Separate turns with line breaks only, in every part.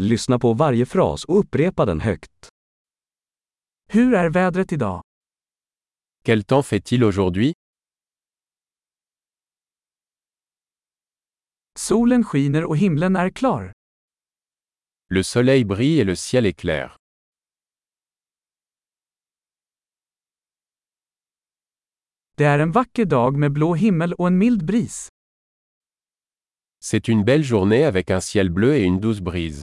Lyssna på varje fras och upprepa den högt.
Hur är vädret idag?
Quel temps fait-il aujourd'hui
Solen skiner och himlen är klar.
Le soleil brille et le ciel est clair.
Det är en vacker dag med blå himmel och en mild bris.
C'est une belle journée avec un ciel bleu et une douce brise.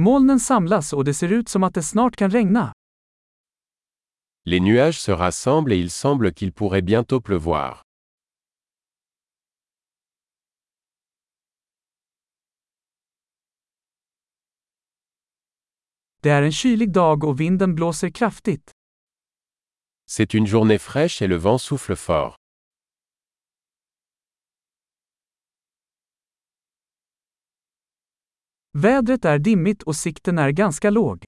Molnen samlas och det ser ut som att det snart kan regna.
Les nuages se rassemblent et il semble qu'il pourrait bientôt pleuvoir.
Det är en kylig dag och vinden blåser kraftigt.
C'est une journée fraîche et le vent souffle fort.
Vädret är dimmigt och sikten är ganska låg.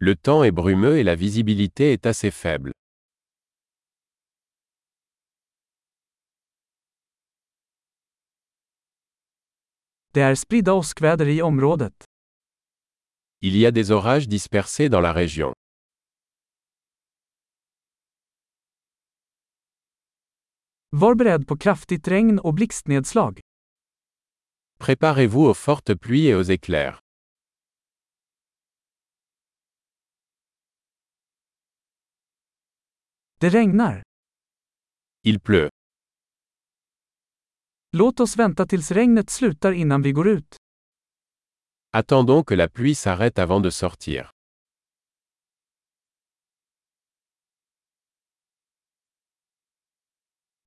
Le temps est brumeux et la visibilité est assez faible.
Det är spridda åskväder i området.
Il y a des orages dispersés dans la région.
Var beredd på kraftigt regn och blixtnedslag.
Préparez-vous aux fortes pluies et aux éclairs.
Det regnar.
Il pleut.
Låt oss vänta tills regnet slutar innan vi går ut.
Attendons que la pluie s'arrête avant de sortir.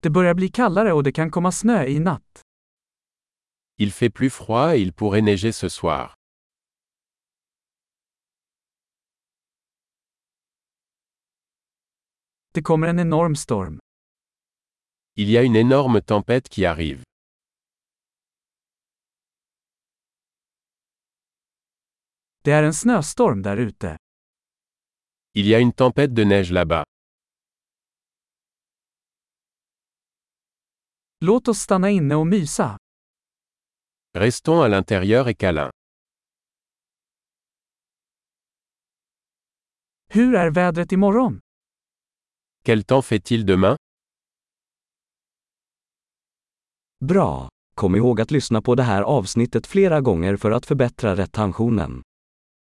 Det börjar bli kallare och det kan komma snö i natt.
Il fait plus froid et il pourrait neiger ce soir.
Det kommer en enorm storm.
Il y a une énorme tempête qui arrive.
Det är en snöstorm där ute.
Il y a une tempête de neige là-bas.
Låt oss stanna inne och mysa.
Restons à l'intérieur et câlin.
Hur är vädret imorgon?
Quel temps fait-il demain
Bra! Kom ihåg att lyssna på det här avsnittet flera gånger för att förbättra retentionen.